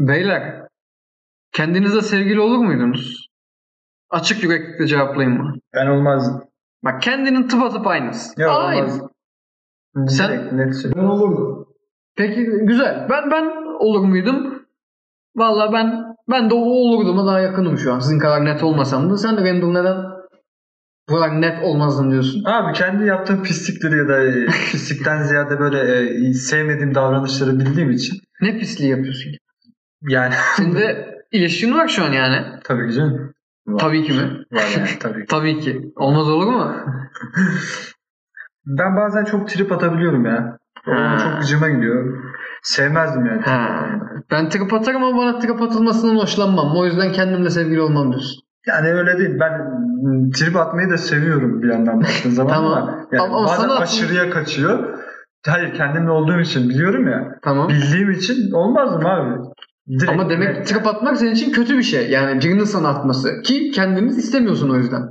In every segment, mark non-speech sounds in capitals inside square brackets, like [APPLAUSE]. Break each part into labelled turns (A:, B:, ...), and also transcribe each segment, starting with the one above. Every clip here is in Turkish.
A: Beyler, kendinizle sevgili olur muydunuz? Açık yüreklikle cevaplayın mı?
B: Ben olmaz.
A: Bak kendinin tıpatıp aynısı.
B: Yok
A: Aynı.
B: olmaz.
A: Sen-
B: Direkt net söyle.
C: Ben olurdum.
A: Peki güzel. Ben ben olur muydum? Valla ben ben de o olurduma daha yakınım şu an. Sizin kadar net olmasam da. Sen Randall neden bu kadar net olmazdın diyorsun?
B: Abi kendi yaptığım pislikleri ya da
A: [LAUGHS]
B: e, pislikten ziyade böyle e, sevmediğim davranışları bildiğim için
A: Ne pisliği yapıyorsun
B: [LAUGHS]
A: ki?
B: yani
A: Senin de ilişkin var şu an yani.
B: tabii ki canım. Var.
A: Tabii ki mi?
B: Var
A: [LAUGHS]
B: yani tabii ki.
A: Tabii ki. Olmaz olur
B: [LAUGHS]
A: mu?
B: Ben bazen çok trip atabiliyorum ya.
A: Ha.
B: Onun çok gücüme gidiyor. Sevmezdim yani.
A: Ha. Ben trip atarım ama bana trip atılmasından hoşlanmam. O yüzden kendimle sevgili olmam diyorsun.
B: Yani öyle değil. Ben m, trip atmayı da seviyorum bir yandan baktığın zaman
A: Tamam.
B: ama yani
A: Ama- ama
B: bazen
A: sana-
B: aşırıya kaçıyor. Hayır kendimle olduğum için biliyorum ya.
A: Tamam.
B: Bildiğim için olmazdım abi. Direkt
A: Ama demek ki trip atmak senin için kötü bir şey. Yani birinin sana atması. Ki kendiniz istemiyorsun o yüzden.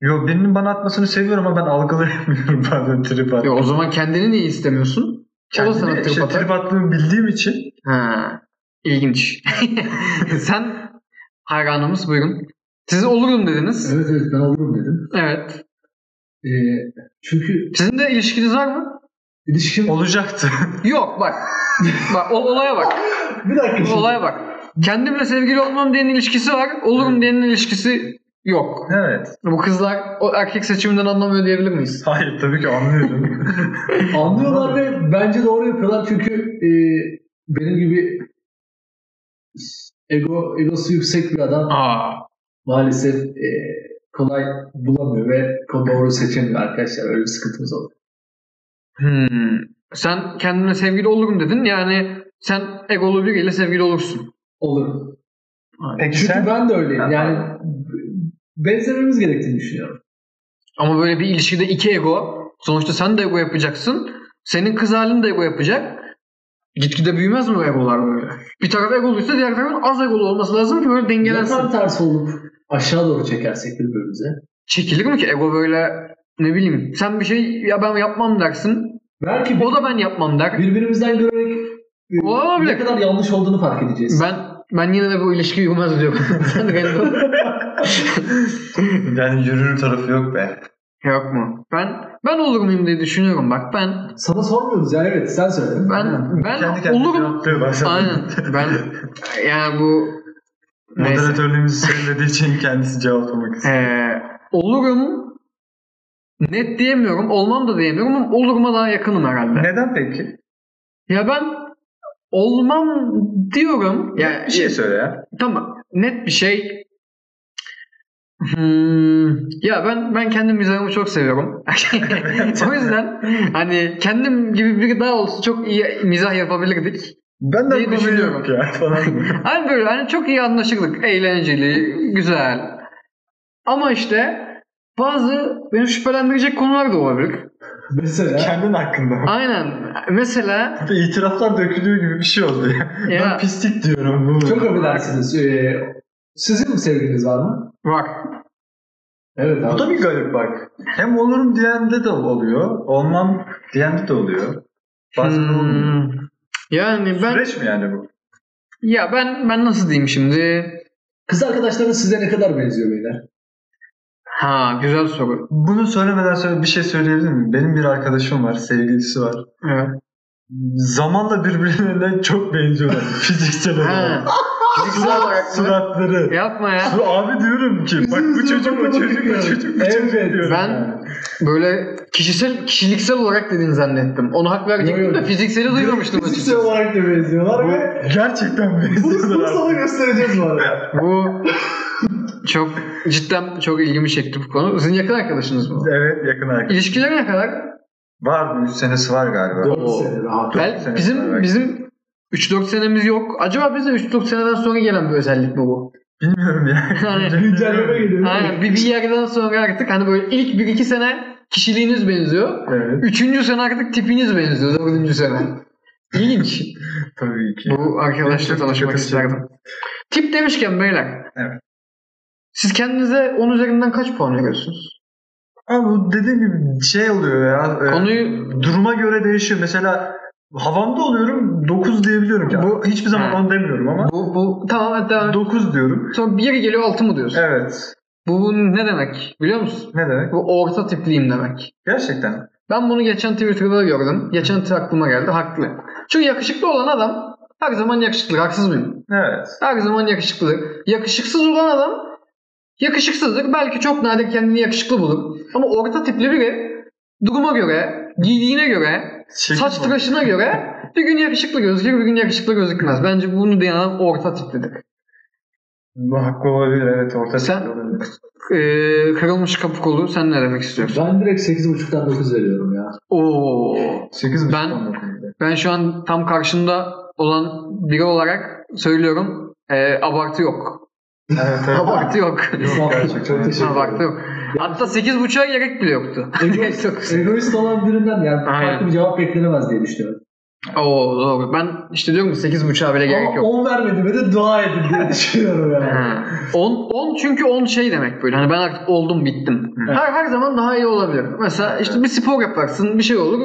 B: Yo birinin bana atmasını seviyorum ama ben algılayamıyorum [LAUGHS] bazen trip at.
A: Ya o zaman kendini niye istemiyorsun? o da sana
B: Kendimi
A: trip
B: işte,
A: atar.
B: trip attığımı bildiğim için
A: Ha. İlginç. [LAUGHS] Sen hayranımız buyurun. Siz olurum dediniz.
C: Evet evet ben olurum dedim.
A: Evet.
C: Ee, çünkü
A: Sizin de ilişkiniz var mı?
C: ilişkim...
B: olacaktı. [LAUGHS]
A: Yok bak. bak ol- olaya bak.
C: Bir dakika şimdi.
A: Olaya bak. Kendimle sevgili olmam diyenin ilişkisi var. Olurum diyenin ilişkisi yok.
B: evet.
A: Bu kızlar o erkek seçiminden anlamıyor diyebilir miyiz?
B: Hayır tabii ki anlıyorum. [LAUGHS]
C: Anlıyorlar ve bence doğru yapıyorlar çünkü e, benim gibi ego egosu yüksek bir adam
A: Aa.
C: maalesef e, kolay bulamıyor ve doğru seçemiyor arkadaşlar. Öyle bir sıkıntımız oluyor.
A: Hmm. Sen kendine sevgili olurum dedin. Yani sen egolu biriyle sevgili olursun.
C: Olur.
B: Peki
C: Çünkü
B: sen
C: ben de öyleyim.
B: Ha.
C: Yani benzememiz gerektiğini düşünüyorum.
A: Ama böyle bir ilişkide iki ego. Sonuçta sen de ego yapacaksın. Senin kız halin de ego yapacak. Gitgide büyümez mi bu egolar böyle? Bir taraf egoluysa diğer tarafın az egolu olması lazım ki böyle
C: Ya
A: dengelensin.
C: tam tersi olup aşağı doğru çekersek birbirimize.
A: Çekilir mi ki ego böyle ne bileyim. Sen bir şey ya ben yapmam dersin.
C: Belki
A: O da ben yapmam der.
C: birbirimizden görerek e,
A: Olabilir.
C: ne kadar yanlış olduğunu fark edeceğiz.
A: Ben ben yine de bu ilişki yürümez diyorum. [LAUGHS] Sen de kendi ol.
B: yani yürür tarafı yok be.
A: Yok mu? Ben ben olur muyum diye düşünüyorum bak. Ben
C: Sana sormuyoruz ya evet sen söyle.
A: ben ben
B: Kendi kendine
A: olurum.
B: cevaplıyor bazen. [LAUGHS]
A: Aynen. Ben yani bu neyse.
B: Moderatörlüğümüzü sevmediği için kendisi cevaplamak istiyor.
A: Ee, olurum net diyemiyorum. Olmam da diyemiyorum ama oluruma daha yakınım herhalde.
B: Neden peki?
A: Ya ben olmam diyorum. Ya,
B: Bir şey söyle ya.
A: Tamam. Net bir şey. Hmm, ya ben ben kendim mizahımı çok seviyorum. [LAUGHS] o yüzden hani kendim gibi biri daha olsa çok iyi mizah yapabilirdik.
B: Ben
A: Neyi
B: de komedi
A: düşünüyorum?
B: şey yok ya falan.
A: [LAUGHS] Hani böyle hani çok iyi anlaşırdık. Eğlenceli, güzel. Ama işte bazı beni şüphelendirecek konular da olabilir.
C: Mesela
B: Kendin hakkında.
A: Aynen. Mesela
B: İtiraflar dökülüyor gibi bir şey oldu ya.
A: Ya.
B: Ben pislik diyorum. Bu.
C: çok affedersiniz. Ee, sizin mi sevgiliniz var mı?
A: bak
C: Evet
B: Bu
C: abi.
B: da bir garip bak. Hem olurum diyende de oluyor. Olmam diyende de oluyor. Bazen olmuyor.
A: hmm, yani ben
B: Süreç mi yani bu?
A: ya ben ben nasıl diyeyim şimdi?
C: Kız arkadaşlarınız size ne kadar benziyor beyler?
A: Ha güzel soru.
B: Bunu söylemeden sonra bir şey söyleyebilir miyim? Benim bir arkadaşım var, sevgilisi var.
A: Evet.
B: Zamanla birbirlerine çok [LAUGHS] benziyorlar fiziksel
A: Ha.
B: olarak.
A: Fiziksel olarak mı?
B: Suratları.
A: Yapma ya.
B: Su- Abi diyorum ki bak bu
C: Yüzünüzü
B: çocuk bu
C: bakın
B: çocuk bu
C: bakın
B: çocuk bu
C: yani.
B: çocuk
C: Evet.
B: diyorum.
A: Ben böyle kişisel kişiliksel olarak dediğini zannettim. Onu hak verecektim
C: Yok,
A: de
C: yok.
A: fizikseli duymamıştım
C: Fiziksel
A: açıkçası.
C: olarak da benziyorlar ve
B: Gerçekten
C: bunu, bunu
B: benziyorlar.
C: sana göstereceğiz bu arada.
B: [LAUGHS]
A: Bu çok cidden çok ilgimi çekti bu konu. Sizin yakın arkadaşınız mı?
B: Evet yakın arkadaş.
A: İlişkileri ne kadar?
B: Var 3 senesi var galiba.
C: 4 sene rahat.
B: Dört
A: Bel
B: sene
A: bizim
B: olarak.
A: bizim 3-4 senemiz yok. Acaba bize 3-4 seneden sonra gelen bir özellik mi bu?
B: Bilmiyorum ya.
A: Aynen.
C: Güncelleme geliyor.
A: Aynen. Bir, bir yerden sonra artık hani böyle ilk 1-2 sene kişiliğiniz benziyor.
B: Evet
A: Üçüncü sene artık tipiniz benziyor. Dördüncü sene. İlginç.
B: tabii ki.
A: Bu arkadaşla
B: Çok
A: tanışmak
B: kötü
A: isterdim. Tip demişken beyler.
B: Evet.
A: Siz kendinize 10 üzerinden kaç puan veriyorsunuz?
B: Ama bu dediğim gibi şey oluyor ya. e,
A: Konuyu
B: duruma göre değişiyor. Mesela havamda oluyorum 9 diyebiliyorum ki.
A: Bu-
B: Bu, Hiçbir zaman
A: Ha.
B: 10 demiyorum ama
A: Bu, bu tamam hadi devam. et.
B: 9 diyorum.
A: Sonra biri geliyor altı mı diyorsun?
B: Evet.
A: Bu, bu ne demek biliyor musun?
B: Ne demek?
A: Bu orta tipliyim demek.
B: Gerçekten.
A: Ben bunu geçen Twitter'da gördüm. Geçen t- aklıma geldi. Haklı. Çünkü yakışıklı olan adam her zaman yakışıklı. Haksız mıyım?
B: Evet.
A: Her zaman yakışıklı. Yakışıksız olan adam yakışıksızdır. Belki çok nadir kendini yakışıklı bulur. Ama orta tipli biri duruma göre, giydiğine göre,
B: Çirkin
A: saç
B: bu.
A: tıraşına göre bir gün yakışıklı gözükür, bir gün yakışıklı gözükmez. Bence bunu diyen adam orta tiplidir.
B: Bu haklı olabilir evet orta
A: Sen-
B: Sen... olabilir.
A: Ee, kırılmış kapı kolu sen ne demek istiyorsun?
C: Ben direkt 8.5'tan 9 veriyorum ya.
A: Oo.
B: 8
A: Ben- Ben şu an tam karşında olan biri olarak söylüyorum. Ee, abartı yok.
B: Evet
A: [LAUGHS]
B: evet.
A: Abartı yok.
C: Estağfurullah,
B: gerçekten.
C: Çok teşekkür
A: abartı
C: ederim.
A: yok. Hatta 8.5'a gerek bile yoktu.
C: Egoist,
A: Çok-
C: egoist olan birinden yani
A: Aynen.
C: farklı bir cevap beklenemez diye düşünüyorum.
A: [LAUGHS] Oo doğru. Ben işte diyorum ki 8.5'a bile gerek
C: Ama
A: yok.
C: 10 vermediğime de dua edin diye [LAUGHS] düşünüyorum yani.
A: 10 10 çünkü 10 şey demek böyle. Hani ben artık oldum bittim.
B: Hı.
A: Her her zaman daha iyi olabilir. Mesela işte bir spor yaparsın, bir şey olur.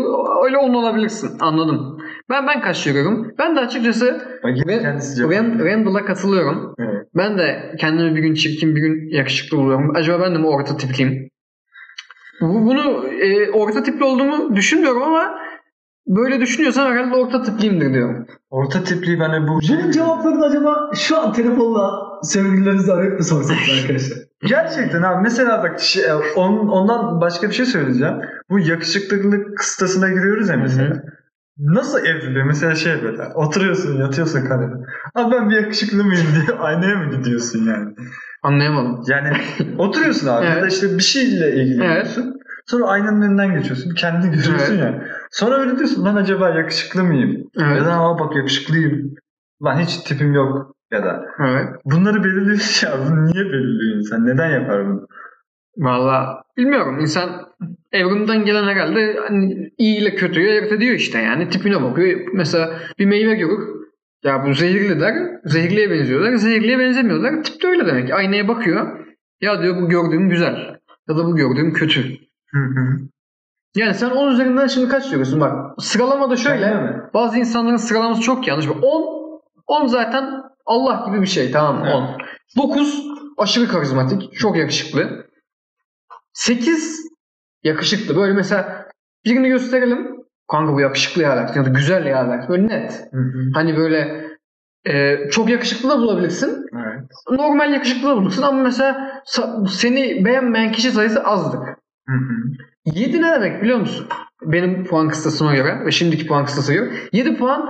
A: Öyle 10 olabilirsin. Anladım. Ben ben kaç veriyorum? Ben de açıkçası
B: Bak yine
A: Ve-
B: kendisi cevap.
A: Rand- Randall'a katılıyorum.
B: Evet.
A: Ben de kendimi bir gün çirkin bir gün yakışıklı buluyorum. Acaba ben de mi orta tipliyim? Bu, bunu e, orta tipli olduğumu düşünmüyorum ama böyle düşünüyorsam herhalde orta tipliyimdir diyorum.
B: Orta tipli ben de bu şey-
C: Bunun cevaplarını acaba şu an telefonla sevgililerinizi arayıp
A: [LAUGHS]
C: mı sorsanız arkadaşlar?
B: Gerçekten abi mesela bak şey, on, ondan başka bir şey söyleyeceğim. Bu yakışıklılık kıstasına giriyoruz ya mesela.
A: Hı
B: Nasıl evliliyor? Mesela şey böyle oturuyorsun yatıyorsun kanepede. Abi ben bir yakışıklı mıyım diye [LAUGHS] aynaya mı gidiyorsun yani?
A: Anlayamadım. [LAUGHS]
B: Yani oturuyorsun abi ya da
A: Evet.
B: işte bir şeyle ilgileniyorsun. Sonra aynanın önünden geçiyorsun. Kendini görüyorsun
A: Evet.
B: ya. Sonra öyle diyorsun lan acaba yakışıklı mıyım?
A: Evet.
B: Ya da ama bak yakışıklıyım. Lan hiç tipim yok ya da.
A: Evet.
B: Bunları belirliyorsun ya. [LAUGHS] Bunu niye belirliyorsun sen? Neden yapar bunu?
A: Valla bilmiyorum. İnsan evrimden gelen herhalde hani iyi ile kötüyü ayırt ediyor işte yani. Tipine bakıyor. Mesela bir meyve görür. Ya bu zehirli der. Zehirliye benziyorlar. Zehirliye benzemiyorlar. Tip de öyle demek. Aynaya bakıyor. Ya diyor bu gördüğüm güzel. Ya da bu gördüğüm kötü.
B: Hı hı.
A: Yani sen 10 üzerinden şimdi kaç diyorsun? Bak sıralamada şöyle.
B: Öyle mi?
A: Bazı insanların sıralaması çok yanlış. Bak, 10 10 zaten Allah gibi bir şey tamam mı?
B: Evet.
A: 10. 9 aşırı karizmatik, çok yakışıklı. 8 yakışıklı. Böyle mesela birini gösterelim. Kanka bu yakışıklı ya da ya da güzel ya da böyle net.
B: Hı hı.
A: Hani böyle e, çok yakışıklı da bulabilirsin.
B: Evet.
A: Normal yakışıklı da bulursun ama mesela sa- seni beğenmeyen kişi sayısı azdır.
B: Hı hı.
A: 7 ne demek biliyor musun? Benim puan kıstasıma göre ve şimdiki puan kıstasına göre 7 puan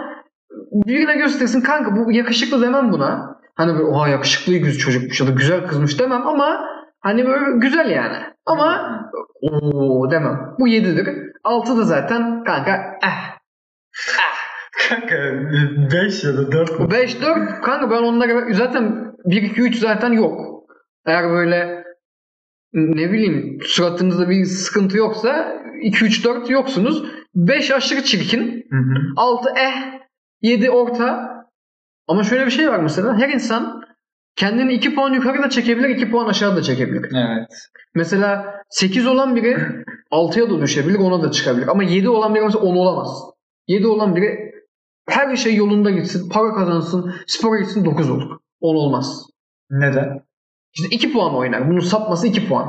A: birine göstersin kanka bu yakışıklı demem buna. Hani böyle oha yakışıklı güz çocukmuş ya da güzel kızmış demem ama hani böyle güzel yani. Ama ooo demem. Bu 7'dir. 6 da zaten kanka eh.
B: kanka 5 e, ya da 4 mu?
A: 5 4 kanka ben onlara zaten 1 2 3 zaten yok. Eğer böyle ne bileyim suratınızda bir sıkıntı yoksa 2 3 4 yoksunuz. 5 aşırı çirkin.
B: Hı hı.
A: 6 eh, 7 orta. Ama şöyle bir şey var mesela. Her insan kendini 2 puan yukarı da çekebilir, 2 puan aşağı da çekebilir.
B: Evet.
A: Mesela 8 olan biri 6'ya da düşebilir, 10'a da çıkabilir. Ama 7 olan biri mesela 10 olamaz. 7 olan biri her şey yolunda gitsin, para kazansın, spora gitsin 9 olur. 10 olmaz.
B: Neden?
A: İşte 2 puan oynar. Bunun sapması 2 puan.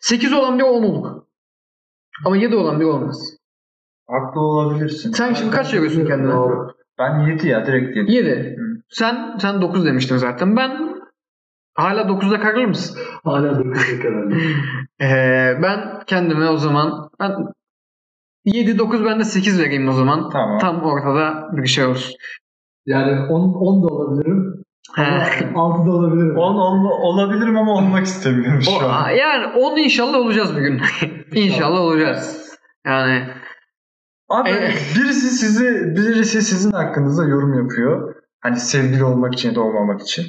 A: 8 olan biri 10 olur. Ama 7 olan biri olmaz.
B: Haklı olabilirsin.
A: Sen şimdi kaç veriyorsun kendine?
B: Doğru. Ben 7 ya direkt 7.
A: 7.
B: Hı.
A: Sen sen 9 demiştin zaten. Ben hala 9'da kararır mısın?
C: Hala 9'a kadar.
A: Ee, ben kendime o zaman ben 7 9 ben de 8 vereyim o zaman.
B: Tamam.
A: Tam ortada bir şey olsun.
C: Yani 10, 10 da olabilirim.
A: He.
C: 6 da olabilirim.
B: 10 olabilirim ama olmak istemiyorum şu
A: O-
B: an.
A: yani 10 inşallah olacağız bir gün. inşallah olacağız. Yani
B: Abi
A: Evet.
B: birisi sizi birisi sizin hakkınızda yorum yapıyor. Hani sevgili olmak için ya da olmamak için.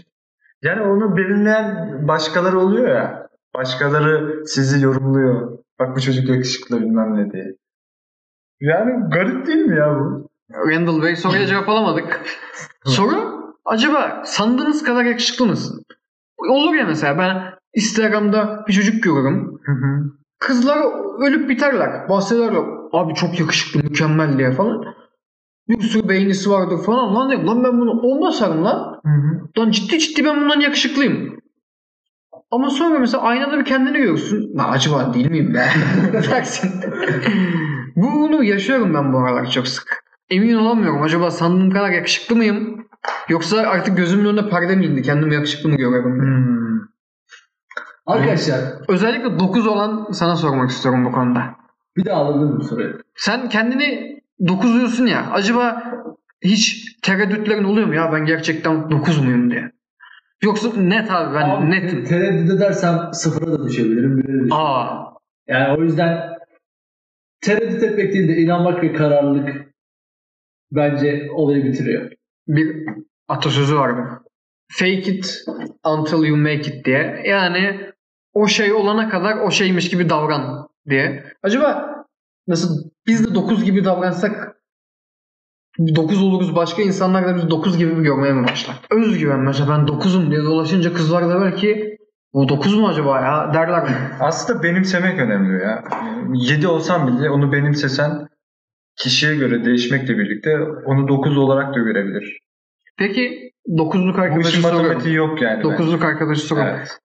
B: Yani onu belirleyen başkaları oluyor ya. Başkaları sizi yorumluyor. Bak bu çocuk yakışıklı bilmem ne diye. Yani garip değil mi ya bu?
A: Randall Bey soruya cevap alamadık. Soru acaba sandığınız kadar yakışıklı mısın? Olur ya mesela ben Instagram'da bir çocuk görürüm.
B: Hı hı.
A: kızlar ölüp biterler. Bahsederler. Abi çok yakışıklı, mükemmel diye falan. bir sürü beğenisi vardır falan lan diyorum. Lan ben bunu on basarım lan.
B: Hı hı.
A: Lan ciddi ciddi ben bundan yakışıklıyım. Ama sonra mesela aynada bir kendini görürsün. Lan acaba değil miyim ben? [LAUGHS] Dersin. Bunu yaşıyorum ben bu aralar çok sık. Emin olamıyorum. Acaba sandığım kadar yakışıklı mıyım? Yoksa artık gözümün önünde perde mi indi? Kendimi yakışıklı mı görüyorum?
B: Hmm.
C: Arkadaşlar
A: Özellikle 9 olan sana sormak istiyorum bu konuda.
C: bir daha alalım bu soruyu.
A: Sen kendini 9 diyorsun ya. Acaba hiç tereddütlerin oluyor mu ya ben gerçekten 9 muyum diye? Yoksa net abi ben
C: Abi,
A: netim.
C: Tereddüt edersem sıfıra da düşebilirim. bire de düşebilirim.
A: Aa.
C: Yani o yüzden tereddüt etmek değil de inanmak ve kararlılık bence olayı bitiriyor.
A: bir atasözü vardı. Fake it until you make it diye. Yani o şey olana kadar o şeymiş gibi davran diye. Acaba nasıl biz de 9 gibi davransak 9 oluruz başka insanlar da biz 9 gibi mi görmeye mi başlar? Özgüven mesela ben 9'um diye dolaşınca kızlar da belki o 9 mu acaba ya derler.
B: Aslında benimsemek önemli ya. 7 olsan bile onu benimsesen kişiye göre değişmekle birlikte onu 9 olarak da görebilir.
A: Peki 9'luk
B: Bu işin
A: arkadaşı soruyorum.
B: matematiği yok yani. bence.
A: 9'luk arkadaşı soruyorum.
B: Evet.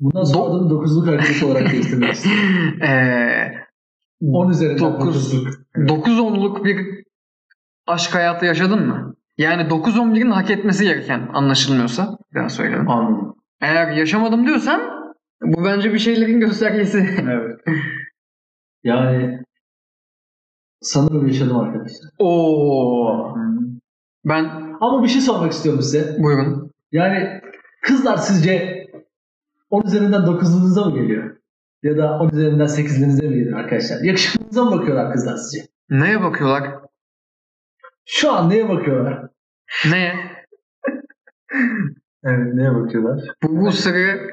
C: Bundan sonra
A: Do-
C: adını dokuzluk arkadaş
A: [LAUGHS]
C: olarak değiştirmek istiyorum.
A: Ee,
C: 10 üzerinden
A: Dokuz.
C: dokuzluk.
A: 9-10'luk bir aşk hayatı yaşadın mı? Yani 9-11'in hak etmesi gereken anlaşılmıyorsa bir daha söyledim.
C: Anladım.
A: Eğer yaşamadım diyorsan bu bence bir şeylerin göstergesi. [LAUGHS]
C: Evet. Yani sanırım yaşadım arkadaşlar.
A: Oo.
B: Hı.
A: Ben
C: Ama bir şey sormak istiyorum size.
A: buyurun.
C: Yani kızlar sizce 10 üzerinden 9'luğunuza mı geliyor? Ya da 10 üzerinden 8'linize mi geliyor arkadaşlar? Yakışıklılığınıza mı bakıyorlar kızlar sizce?
A: Neye bakıyorlar?
C: Şu an neye bakıyorlar?
A: Neye?
B: Evet neye bakıyorlar?
A: Bu, bu sırrı [LAUGHS]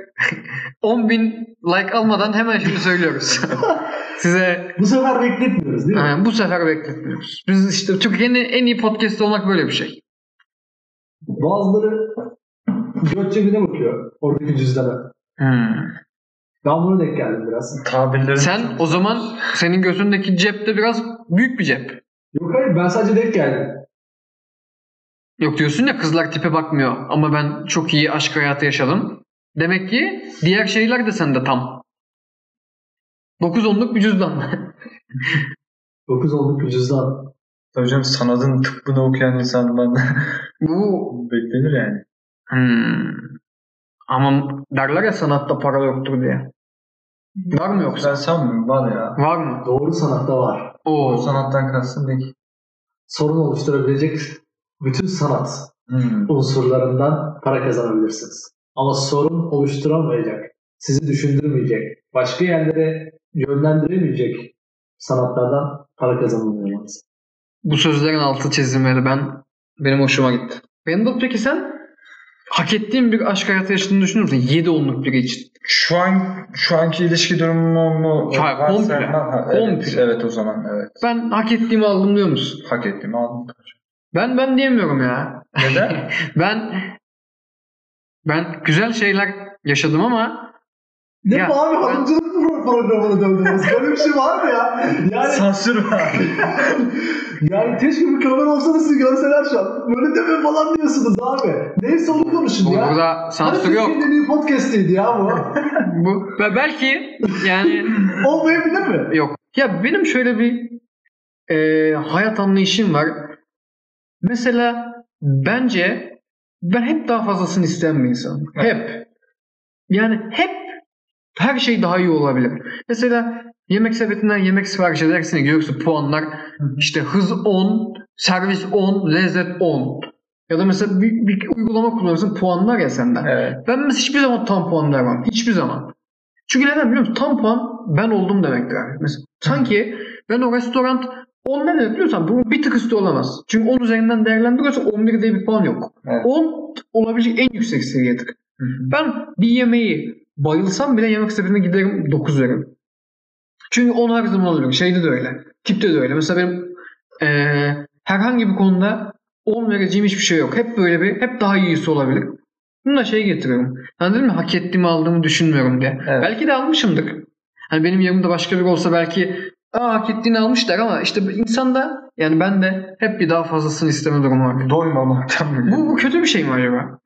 A: 10.000 like almadan hemen şimdi söylüyoruz. Size
C: Bu sefer bekletmiyoruz değil mi?
A: e, bu sefer bekletmiyoruz. Biz işte Türkiye'nin en iyi podcast olmak böyle bir şey.
C: Bazıları göt cebine bakıyor oradaki cüzdana. Ben buna denk geldim biraz.
B: Tabirlerin
A: Sen o zaman senin gözündeki cep de biraz büyük bir cep.
C: Yok hayır ben sadece denk geldim.
A: Yok diyorsun ya kızlar tipe bakmıyor ama ben çok iyi aşk hayatı yaşadım. Demek ki diğer şeyler de sende tam. 9-10'luk bir cüzdan.
C: 9 olduk bir cüzdan.
B: hocam sanatın tıbbını okuyan insandan
A: [LAUGHS]
B: [LAUGHS]
A: Bu
B: beklenir yani.
A: hmm. ama derler ya sanatta para yoktur diye. Var mı yoksa?
B: Ben sanmıyorum var ya.
A: Var mı?
C: Doğru sanatta var.
B: O
A: Oo.
B: sanattan kastın ne ki?
C: Sorun oluşturabilecek bütün sanat
B: Hmm.
C: unsurlarından para kazanabilirsiniz. Ama sorun oluşturamayacak, sizi düşündürmeyecek, başka yerlere yönlendiremeyecek sanatlardan para kazanılmıyor maalesef.
A: Bu sözlerin altı çizilmeli. Ben benim hoşuma gitti. Randall peki sen hak ettiğin bir aşk hayatı yaşadığını düşünür müsün? 7 onluk biri için.
B: Şu an şu anki ilişki durumu mu?
A: Hayır,
B: varsa-
A: komple.
B: Ha, evet,
A: Komple.
B: evet o zaman evet.
A: Ben hak ettiğimi aldım diyor musun?
B: Hak ettiğimi aldım.
A: Ben ben diyemiyorum ya.
B: Neden?
A: Ben ben güzel şeyler yaşadım ama
C: Ne
A: Ya,
C: bu abi
A: ben-
C: oyunculuk pro- programına döndünüz? Böyle bir şey var mı ya? Yani,
B: Sansür var.
C: yani keşke bir kamera olsa da sizi görseler şu an. Böyle deme falan diyorsunuz abi. Neyse onu konuşun ya.
A: burada sansür
C: Hani
A: yok.
C: Türkiye'nin en iyi podcastiydi ya [LAUGHS] bu.
A: Bu ve belki yani
C: Olmayabilir mi?
A: yok. Ya benim şöyle bir e, hayat anlayışım var. Mesela bence ben hep daha fazlasını isteyen bir insanım. Hep. Yani hep her şey daha iyi olabilir. Mesela yemek sepetinden yemek sipariş edersin ya, görürsün puanlar işte hız 10, servis 10, lezzet 10. Ya da mesela bir, bir uygulama kullanırsın puanlar ya senden.
B: evet.
A: Ben mesela hiçbir zaman tam puan vermem. Hiçbir zaman. Çünkü neden biliyor musun? Tam puan ben oldum demektir abi. Mesela sanki ben o restoran 10 ne demek biliyorsan bunun bir tık üstü olamaz. Çünkü 10 üzerinden değerlendiriyorsa 11 diye bir puan yok.
B: Evet.
A: 10 olabilecek en yüksek seviyedir.
B: Hı hı.
A: Ben bir yemeği bayılsam bile yemek sepetine giderim 9 veririm. Çünkü 10 her zaman oluyor. Şeyde de öyle. Tipte de öyle. Mesela benim eee, herhangi bir konuda 10 vereceğim hiçbir şey yok. Hep böyle bir, hep daha iyisi olabilir. Bunu da şey getiriyorum. Hani dedim ya hak ettiğimi aldığımı düşünmüyorum diye.
B: Evet.
A: Belki de almışımdır. Hani benim yerimde başka biri olsa belki Aa hak ettiğini almışlar ama işte insanda yani ben de hep bir daha fazlasını isteme durumu var.
B: Doymamaktan mı?
A: Bu, bu kötü bir şey mi acaba?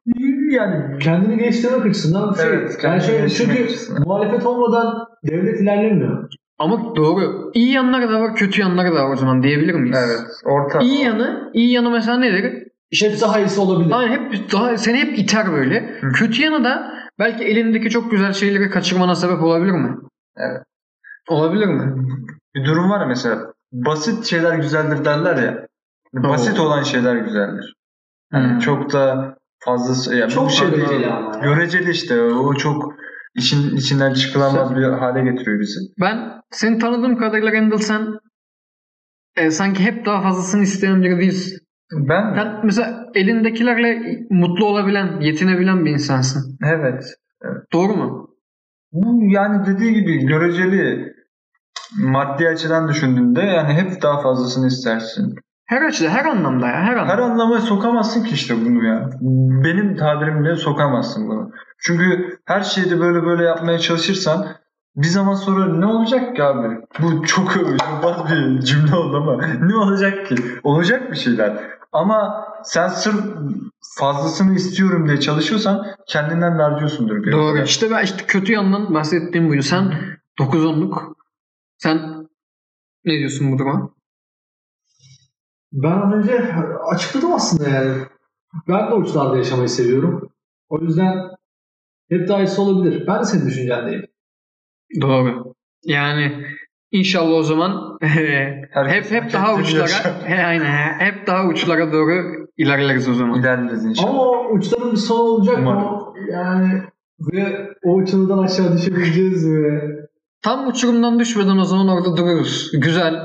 B: yani
C: Kendini geliştirmek açısından şey.
B: Evet,
C: yani
B: kendini
C: şöyle
B: geliştirmek
C: çünkü
B: açısından.
C: muhalefet olmadan devlet ilerlemiyor.
A: Ama doğru. İyi yanları da var, kötü yanları da var o zaman diyebilir miyiz?
B: evet. Orta.
A: İyi yanı, iyi yanı mesela nedir?
C: Hep daha iyisi olabilir.
A: Aynen hep daha seni hep iter böyle.
B: Hı.
A: Kötü yanı da belki elindeki çok güzel şeyleri kaçırmana sebep olabilir mi?
B: Evet.
A: Olabilir mi?
B: Bir durum var ya mesela. Basit şeyler güzeldir derler ya. Basit olan şeyler güzeldir. Yani
A: Hmm.
B: çok da fazla yani
C: Çok
B: bu şey-
C: göreceli ama ya.
B: Göreceli işte. O çok için içinden çıkılamaz bir hale getiriyor bizi.
A: Ben seni tanıdığım kadarıyla Randall sen e, sanki hep daha fazlasını isteyen biri değilsin.
B: Ben
A: Sen mesela elindekilerle mutlu olabilen, yetinebilen bir insansın.
B: evet.
A: Doğru mu?
B: Bu yani dediği gibi göreceli maddi açıdan düşündüğünde yani hep daha fazlasını istersin.
A: Her açıda, her anlamda ya, her anlamda.
B: Her anlama sokamazsın ki işte bunu ya. Benim tabirimle sokamazsın bunu. Çünkü her şeyde böyle böyle yapmaya çalışırsan bir zaman sonra ne olacak ki abi? Bu çok övücülmez bir cümle oldu ama ne olacak ki? Olacak bir şeyler. Ama sen sırf fazlasını istiyorum diye çalışıyorsan kendinden harcıyorsundur. bir
A: Doğru.
B: yere.
A: İşte ben işte kötü yandan bahsettiğim buydu. Sen 9-10'luk. Sen ne diyorsun bu duruma?
C: Ben az önce açıkladım aslında yani. Ben de uçlarda yaşamayı seviyorum. O yüzden hep daha iyisi olabilir. Ben de senin düşüncendeyim.
A: Doğru. Yani inşallah o zaman [LAUGHS] hep
B: Herkes
A: hep daha
B: kendini
A: uçlara
B: yaşar.
A: [LAUGHS] he, aynen he, hep daha uçlara doğru ilerleriz o zaman.
B: İlerleriz inşallah.
C: Ama o uçların bir sonu olacak
B: Umarım.
C: mı? Yani ve o uçurumdan aşağı düşebileceğiz mi?
A: Tam uçurumdan düşmeden o zaman orada dururuz. Güzel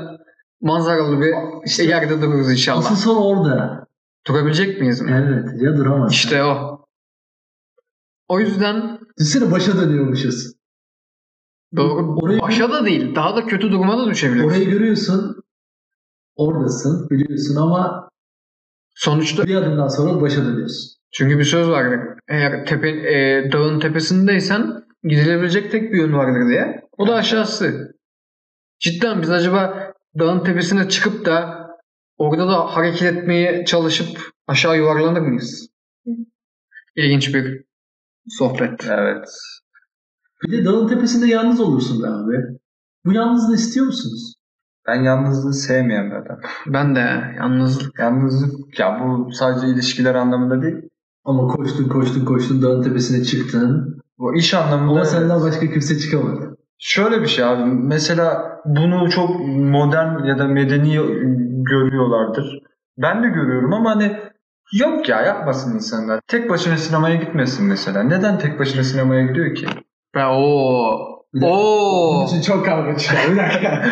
A: manzaralı bir
C: İşte-
A: yerde dururuz inşallah.
C: Asıl son orada.
A: Durabilecek miyiz? mi?
C: Evet ya duramaz.
A: İşte o. O yüzden
C: Düşünsene başa dönüyormuşuz.
A: doğru
C: Orayı-
A: başa da değil daha da kötü duruma da düşebiliriz.
C: Orayı görüyorsun. Oradasın biliyorsun ama
A: Sonuçta
C: bir adımdan sonra başa dönüyorsun.
A: Çünkü bir söz vardır. Eğer tepe, e, dağın tepesindeysen gidilebilecek tek bir yön vardır diye. O da aşağısı. Cidden biz acaba dağın tepesine çıkıp da orada da hareket etmeye çalışıp aşağı yuvarlanır mıyız? İlginç bir sohbet.
B: Evet.
C: Bir de dağın tepesinde yalnız olursun be abi. Bu yalnızlığı istiyor musunuz?
B: Ben yalnızlığı sevmeyen bir adamım.
A: Ben de yalnız
B: Yalnızlık ya bu sadece ilişkiler anlamında değil.
C: Ama koştun koştun koştun dağın tepesine çıktın.
B: Bu iş anlamında
C: Ama
B: evet.
C: senden başka kimse çıkamadı.
B: şöyle bir şey abi. Mesela bunu çok modern ya da medeni görüyorlardır. Ben de görüyorum ama hani yok ya yapmasın insanlar. Tek başına sinemaya gitmesin mesela. Neden tek başına sinemaya gidiyor ki?
A: ben o
C: Bir de-
B: Oh.
A: o
C: için çok kavga çıkar.
B: [LAUGHS]
C: Bir dakika.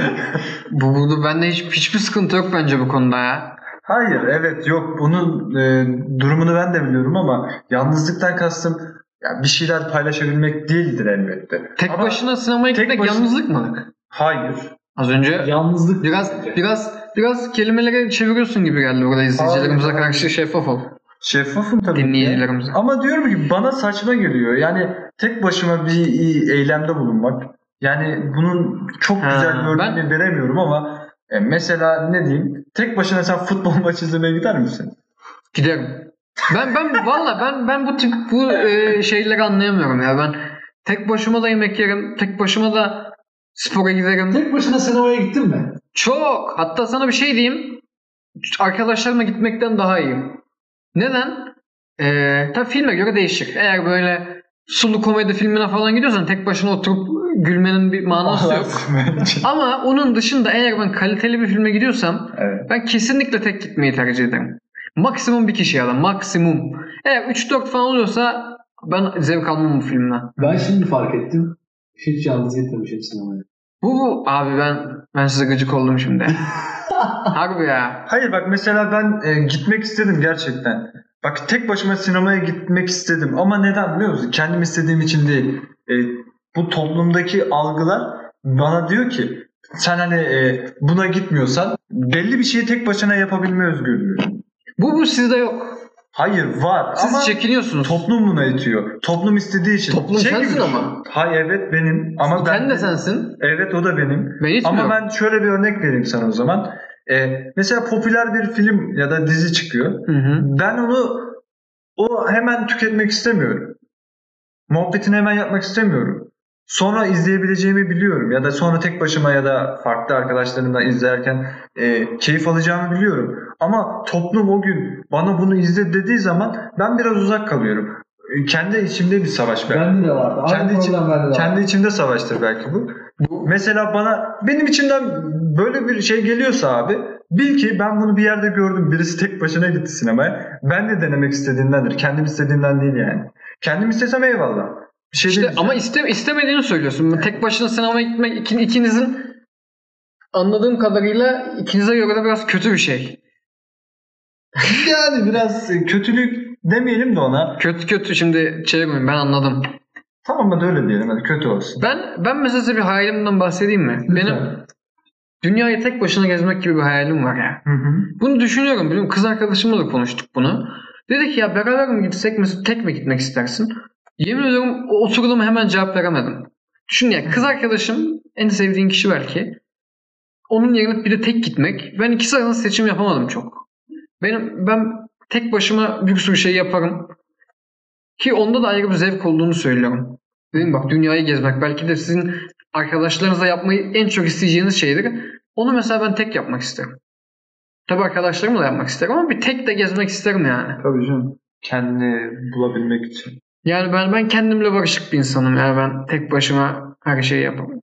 A: bu bunu bende hiç hiçbir sıkıntı yok bence bu konuda ya.
B: Hayır evet yok bunun e, durumunu ben de biliyorum ama yalnızlıktan kastım ya bir şeyler paylaşabilmek değildir elbette.
A: Tek
B: Ama
A: başına sinemaya
B: tek
A: gitmek
B: başına-
A: yalnızlık mı?
B: Hayır.
A: Az önce
C: Yalnızlık.
A: Biraz biraz biraz kelimeleri çeviriyorsun gibi geldi burada izleyicilerimize
B: Hayır,
A: karşı şeffaf ol.
B: Şeffafım tabii. ki.
A: Dinleyicilerimize.
B: Ama diyorum ki bana saçma geliyor. Yani tek başıma bir iyi eylemde bulunmak. Yani bunun çok
A: Ha,
B: güzel bir örneğini
A: ben-
B: veremiyorum ama e, mesela ne diyeyim? Tek başına sen futbol [LAUGHS] maçı izlemeye gider misin?
A: Giderim. Ben ben valla ben ben bu tip bu e, şeyleri anlayamıyorum ya. Ben tek başıma da yemek yerim, tek başıma da spora giderim.
C: Tek başına sinemaya gittin mi?
A: Çok. Hatta sana bir şey diyeyim. Arkadaşlarımla gitmekten daha iyiyim. Neden? Ee, tabii filme göre değişir. Eğer böyle sulu komedi filmine falan gidiyorsan tek başına oturup gülmenin bir manası yok.
B: bence.
A: Ama onun dışında eğer ben kaliteli bir filme gidiyorsam
B: Evet.
A: ben kesinlikle tek gitmeyi tercih ederim. Maksimum bir kişi ya da maksimum. Eğer 3-4 falan oluyorsa ben zevk almam bu filmden.
C: Ben şimdi fark ettim. Hiç yalnız gitmemişim sinemaya.
A: Bu bu. abi ben ben size gıcık oldum
B: [LAUGHS]
A: şimdi. Harbi ya.
B: Hayır bak mesela ben e, gitmek istedim gerçekten. Bak tek başıma sinemaya gitmek istedim ama neden biliyor musun? Kendim istediğim için değil. E, bu toplumdaki algılar bana diyor ki sen hani e, buna gitmiyorsan belli bir şeyi tek başına yapabilme özgürlüğü.
A: Bu bu sizde yok.
B: Hayır var
A: Siz
B: ama
A: çekiniyorsunuz.
B: toplum buna itiyor. Toplum istediği için. Şey
A: Toplum sensin
B: gibi düşün.
A: ama.
B: Hay evet benim ama ben
A: Sen de sensin.
B: evet o da benim.
A: Ben hiç
B: Ama ben şöyle bir örnek vereyim sana o zaman. Ee, mesela popüler bir film ya da dizi çıkıyor.
A: Hı hı.
B: Ben onu o hemen tüketmek istemiyorum. Muhabbetini hemen yapmak istemiyorum. Sonra izleyebileceğimi biliyorum ya da sonra tek başıma ya da farklı arkadaşlarımla izlerken e, keyif alacağımı biliyorum. Ama toplum o gün bana bunu izle dediği zaman ben biraz uzak kalıyorum. E, kendi içimde bir savaş belki.
C: Bende de vardı. Aynı
B: Kendi
C: problem
B: için-
C: bende de var.
B: kendi içimde savaştır belki bu.
A: Bu
B: Mesela bana benim içimden böyle bir şey geliyorsa abi bil ki ben bunu bir yerde gördüm. Birisi tek başına gitti sinemaya. Ben de denemek istediğimdendir. Kendim istediğimden değil yani. Kendim istesem eyvallah. Bir şey
A: işte
B: değil.
A: ama iste, istemediğini söylüyorsun. Tek başına sinemaya gitmek ikin- ikinizin anladığım kadarıyla ikinize göre de biraz kötü bir şey.
B: yani biraz kötülük demeyelim de ona.
A: Kötü kötü şimdi çevirmeyin ben anladım.
B: Tamam hadi öyle diyelim hadi kötü olsun.
A: Ben ben mesela size bir hayalimden bahsedeyim mi? Benim
C: Lütfen.
A: dünyayı tek başına gezmek gibi bir hayalim var ya.
B: Hı hı.
A: Bunu düşünüyorum biliyorum. Kız arkadaşımla da konuştuk bunu. Dedi ki ya beraber mi gitsek mesela tek mi gitmek istersin? Yemin ediyorum o oturduğuma hemen cevap veremedim. Düşün ya kız arkadaşım en sevdiğin kişi belki. Onun yerine bir de tek gitmek. Ben ikisi arasında seçim yapamadım çok. Benim ben tek başıma bir sürü şey yaparım. Ki onda da ayrı bir zevk olduğunu söylüyorum. Dedim bak dünyayı gezmek belki de sizin arkadaşlarınızla yapmayı en çok isteyeceğiniz şeydir. Onu mesela ben tek yapmak isterim. Tabii arkadaşlarımla da yapmak isterim ama bir tek de gezmek isterim yani.
B: Tabii canım. Kendini bulabilmek için.
A: Yani ben ben kendimle barışık bir insanım. Yani ben tek başıma her şeyi yaparım.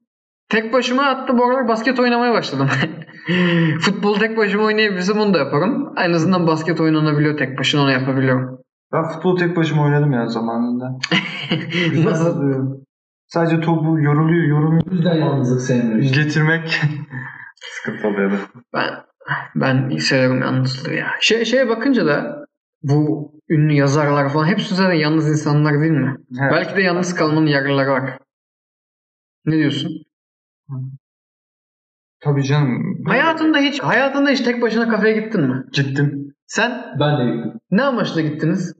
A: Tek başıma hatta bu aralar basket oynamaya başladım. [LAUGHS] Futbol tek başıma oynayabilirsem onu da yaparım. En azından basket oynanabiliyor tek başına onu yapabiliyorum.
B: Ben futbol tek başıma oynadım ya [LAUGHS] zamanında.
A: Nasıl?
B: Sadece topu yoruluyor yoruluyor.
C: O yüzden yalnızlık sevmiyorum. işte.
B: Getirmek sıkıntı oluyordu.
A: Ben ben severim yalnızlığı ya. Şey, şeye bakınca da bu ünlü yazarlar falan hepsi zaten yalnız insanlar değil mi?
B: Evet.
A: Belki de yalnız kalmanın yararları var. Ne diyorsun?
B: Tabii canım.
A: Hayatında hiç hayatında hiç tek başına kafeye gittin mi?
B: Gittim.
A: Sen
C: Ben de gittim.
A: ne amaçla gittiniz?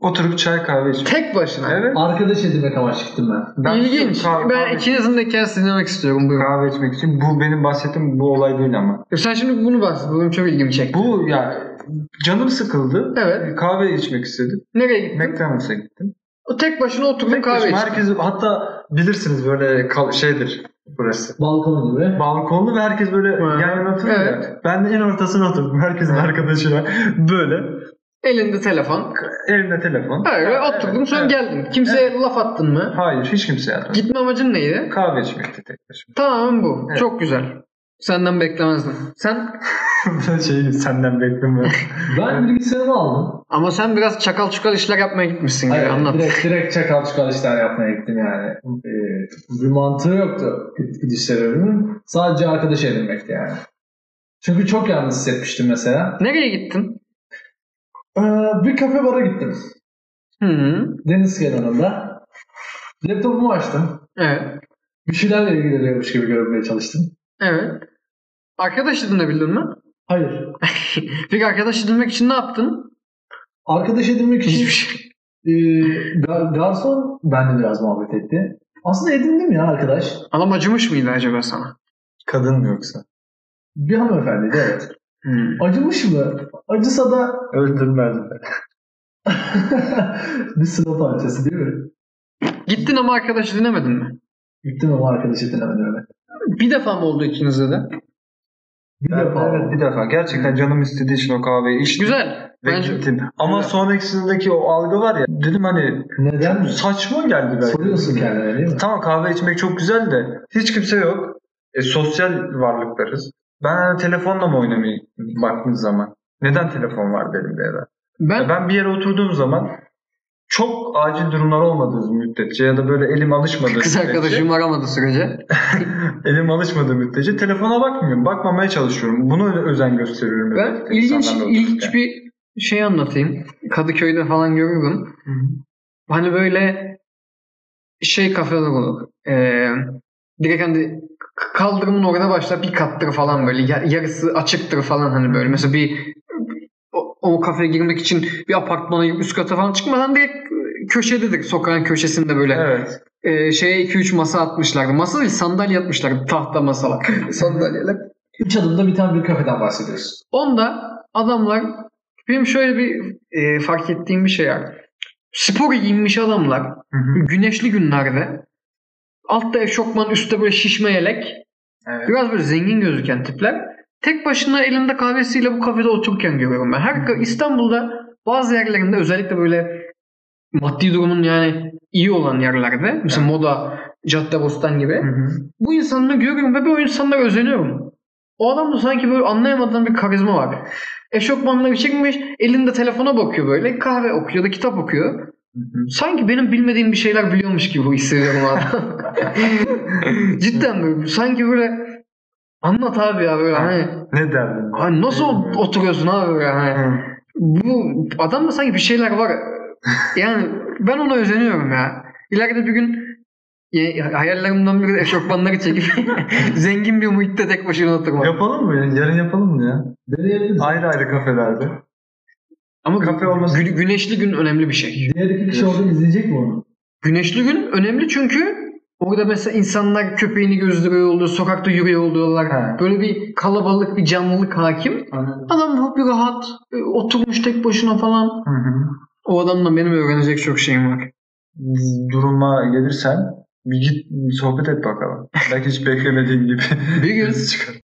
B: Oturup çay kahve içmek.
A: Tek başına.
B: Evet.
C: Arkadaş edinmek amaçlı gittim ben.
A: İlginç.
B: Kahve,
A: ben ikinizin de hikayesini dinlemek istiyorum. Buyurun.
B: kahve içmek için. Bu benim bahsettiğim bu olay değil ama.
A: Sen şimdi bunu bahset. Bu benim çok ilgimi çekti.
B: Bu ya canım sıkıldı. E,
A: Evet.
B: Kahve içmek istedim.
A: Nereye gittin?
B: McDonald's'a gittim.
A: O tek başına oturdun
B: Tek
A: kahve
B: başıma
A: içtin.
B: herkes hatta bilirsiniz böyle kal- şeydir burası.
C: Balkon gibi.
B: Balkonlu ve herkes böyle
A: Hı.
B: yan yana oturuyor. ya.
A: Evet.
B: Ben de en ortasına oturdum. Herkesin arkadaşıyla [LAUGHS] böyle.
A: Elinde telefon.
B: Elimde telefon.
A: Öyle
B: Ha,
A: oturdun
B: evet,
A: sonra
B: evet.
A: geldin. Kimseye laf attın mı?
B: Hayır hiç kimse yazmadı.
A: Gitme amacın neydi?
B: Kahve içmekti tek [LAUGHS] başıma.
A: Tamamen bu.
B: Evet.
A: Çok güzel. Senden beklemezdim. Sen
B: şey senden beklemiyorum.
C: Ben bilgisayarımı aldım.
A: ama sen biraz çakal çukal işler yapmaya gitmişsin gibi
C: Hayır,
A: anlat.
C: direkt, direkt çakal çukal işler yapmaya gittim yani. Ee, bir mantığı yoktu gid- gidiş sebebimin. Sadece arkadaş edinmekti yani. Çünkü çok yalnız hissetmiştim mesela.
A: Nereye gittin?
C: Ee, bir kafe bara gittim.
A: Hı -hı.
C: Deniz kenarında. Laptopumu açtım.
A: Evet.
C: Bir şeylerle ilgileniyormuş gibi görünmeye çalıştım.
A: Evet. Arkadaş edinebildin [LAUGHS] mi?
C: Hayır.
A: Peki arkadaş edinmek için ne yaptın?
C: Arkadaş edinmek için
A: Hiçbir şey.
C: e, gar- garson benimle biraz muhabbet etti. Aslında edindim ya arkadaş.
A: Adam acımış mıydı acaba sana?
B: Kadın mı yoksa?
C: Bir hanımefendiydi evet.
A: Hmm.
C: Acımış mı? Acısa da
B: Öldürmezler.
C: [LAUGHS] bir sınav parçası değil mi?
A: Gittin ama arkadaş edinemedin mi?
C: Gittim ama arkadaş edinemedim evet.
A: Bir defa mı oldu ikinize de?
C: Bir
B: Evet,
C: defa.
B: evet, bir defa. Gerçekten canım istediği için o kahveyi içtim.
A: Güzel.
B: Ve
A: Bence
B: gittim. Ama
A: Güzel.
B: sonrakisindeki o algı var ya. Dedim hani
C: Neden?
B: saçma geldi belki. E,
C: Soruyorsun kendine değil mi?
B: Tamam kahve içmek çok güzel de hiç kimse yok. E, sosyal varlıklarız. Ben hani telefonla mı oynamayı baktığım zaman? Neden telefon var elimde ya da?
A: ben,
B: Ya Ben bir yere oturduğum zaman çok acil durumlar olmadığı müddetçe ya da böyle elim alışmadığı
A: kız
B: müddetçe
A: arkadaşım aramadı sürece.
B: Elim alışmadığı müddetçe telefona bakmıyorum. Bakmamaya çalışıyorum. Buna özen gösteriyorum.
A: Ben
B: özellikle
A: ilginç
B: insanlarla
A: ilginç
B: otururken.
A: bir şey anlatayım. Kadıköy'de falan görürdüm.
B: Hı hı.
A: Hani böyle şey kafeler olur. Ee, direkt hani k- kaldırımın orada başlar bir kattır falan böyle ya- yarısı açıktır falan hani böyle. Mesela bir o- o kafeye girmek için bir apartmana üst kata falan çıkmadan direkt köşededir. Sokağın köşesinde böyle
B: Evet.
A: e, şeye 2-3 masa atmışlardı. Masa değil sandalye atmışlardı. Tahta masalar. [LAUGHS] Sandalyeler.
C: Üç adımda bir tane bir kafeden bahsediyorsun.
A: Onda adamlar benim şöyle bir e, fark ettiğim bir şey var. Spor giyinmiş adamlar
B: Hı hı.
A: güneşli günlerde altta eşofman üstte böyle şişme yelek
B: Evet.
A: biraz böyle zengin gözüken tipler tek başına elinde kahvesiyle bu kafede otururken görüyorum ben. Her ka- İstanbul'da bazı yerlerinde özellikle böyle maddi durumun yani iyi olan yerlerde mesela Moda, Caddebostan gibi
B: Hı hı.
A: bu insanları görüyorum ve bu insanlara özeniyorum. O adamda sanki böyle anlayamadığım bir karizma var. Eşofmanları çekmiş, elinde telefona bakıyor böyle, kahve okuyor da kitap okuyor.
B: hı.
A: Sanki benim bilmediğim bir şeyler biliyormuş gibi hissediyorum o
B: [LAUGHS]
A: adam. Cidden böyle, sanki böyle anlat abi ya böyle hani,
B: Ne derdin?
A: hani nasıl
B: Bilmiyorum.
A: oturuyorsun abi böyle hani.
B: Hı.
A: Bu adamda sanki bir şeyler var. Yani ben ona özeniyorum ya. İleride bir gün ye- hayallerimden biri de eşofmanları çekip [LAUGHS] zengin bir muhitte tek başına oturmak.
B: Yapalım mı? ya? Yarın yapalım mı ya?
C: Deneyebiliriz.
B: Ayrı ayrı kafelerde.
A: Ama gü-
B: Kafe olması-
A: gü- güneşli gün önemli bir şey.
C: Diğer iki kişi orada izleyecek mi onu?
A: Güneşli gün önemli çünkü orada mesela insanlar köpeğini gözdürüyor oluyor, sokakta yürüyor oluyorlar.
B: He.
A: Böyle bir kalabalık, bir canlılık hakim.
C: Anladım.
A: Adam bir rahat, e, oturmuş tek başına falan.
B: Hı hı.
A: O adamla benim öğrenecek çok şeyim var.
B: Duruma gelirsen bir git sohbet et bakalım. Belki hiç beklemediğin gibi.
A: Bir gün
B: [LAUGHS] Birisi çıkar.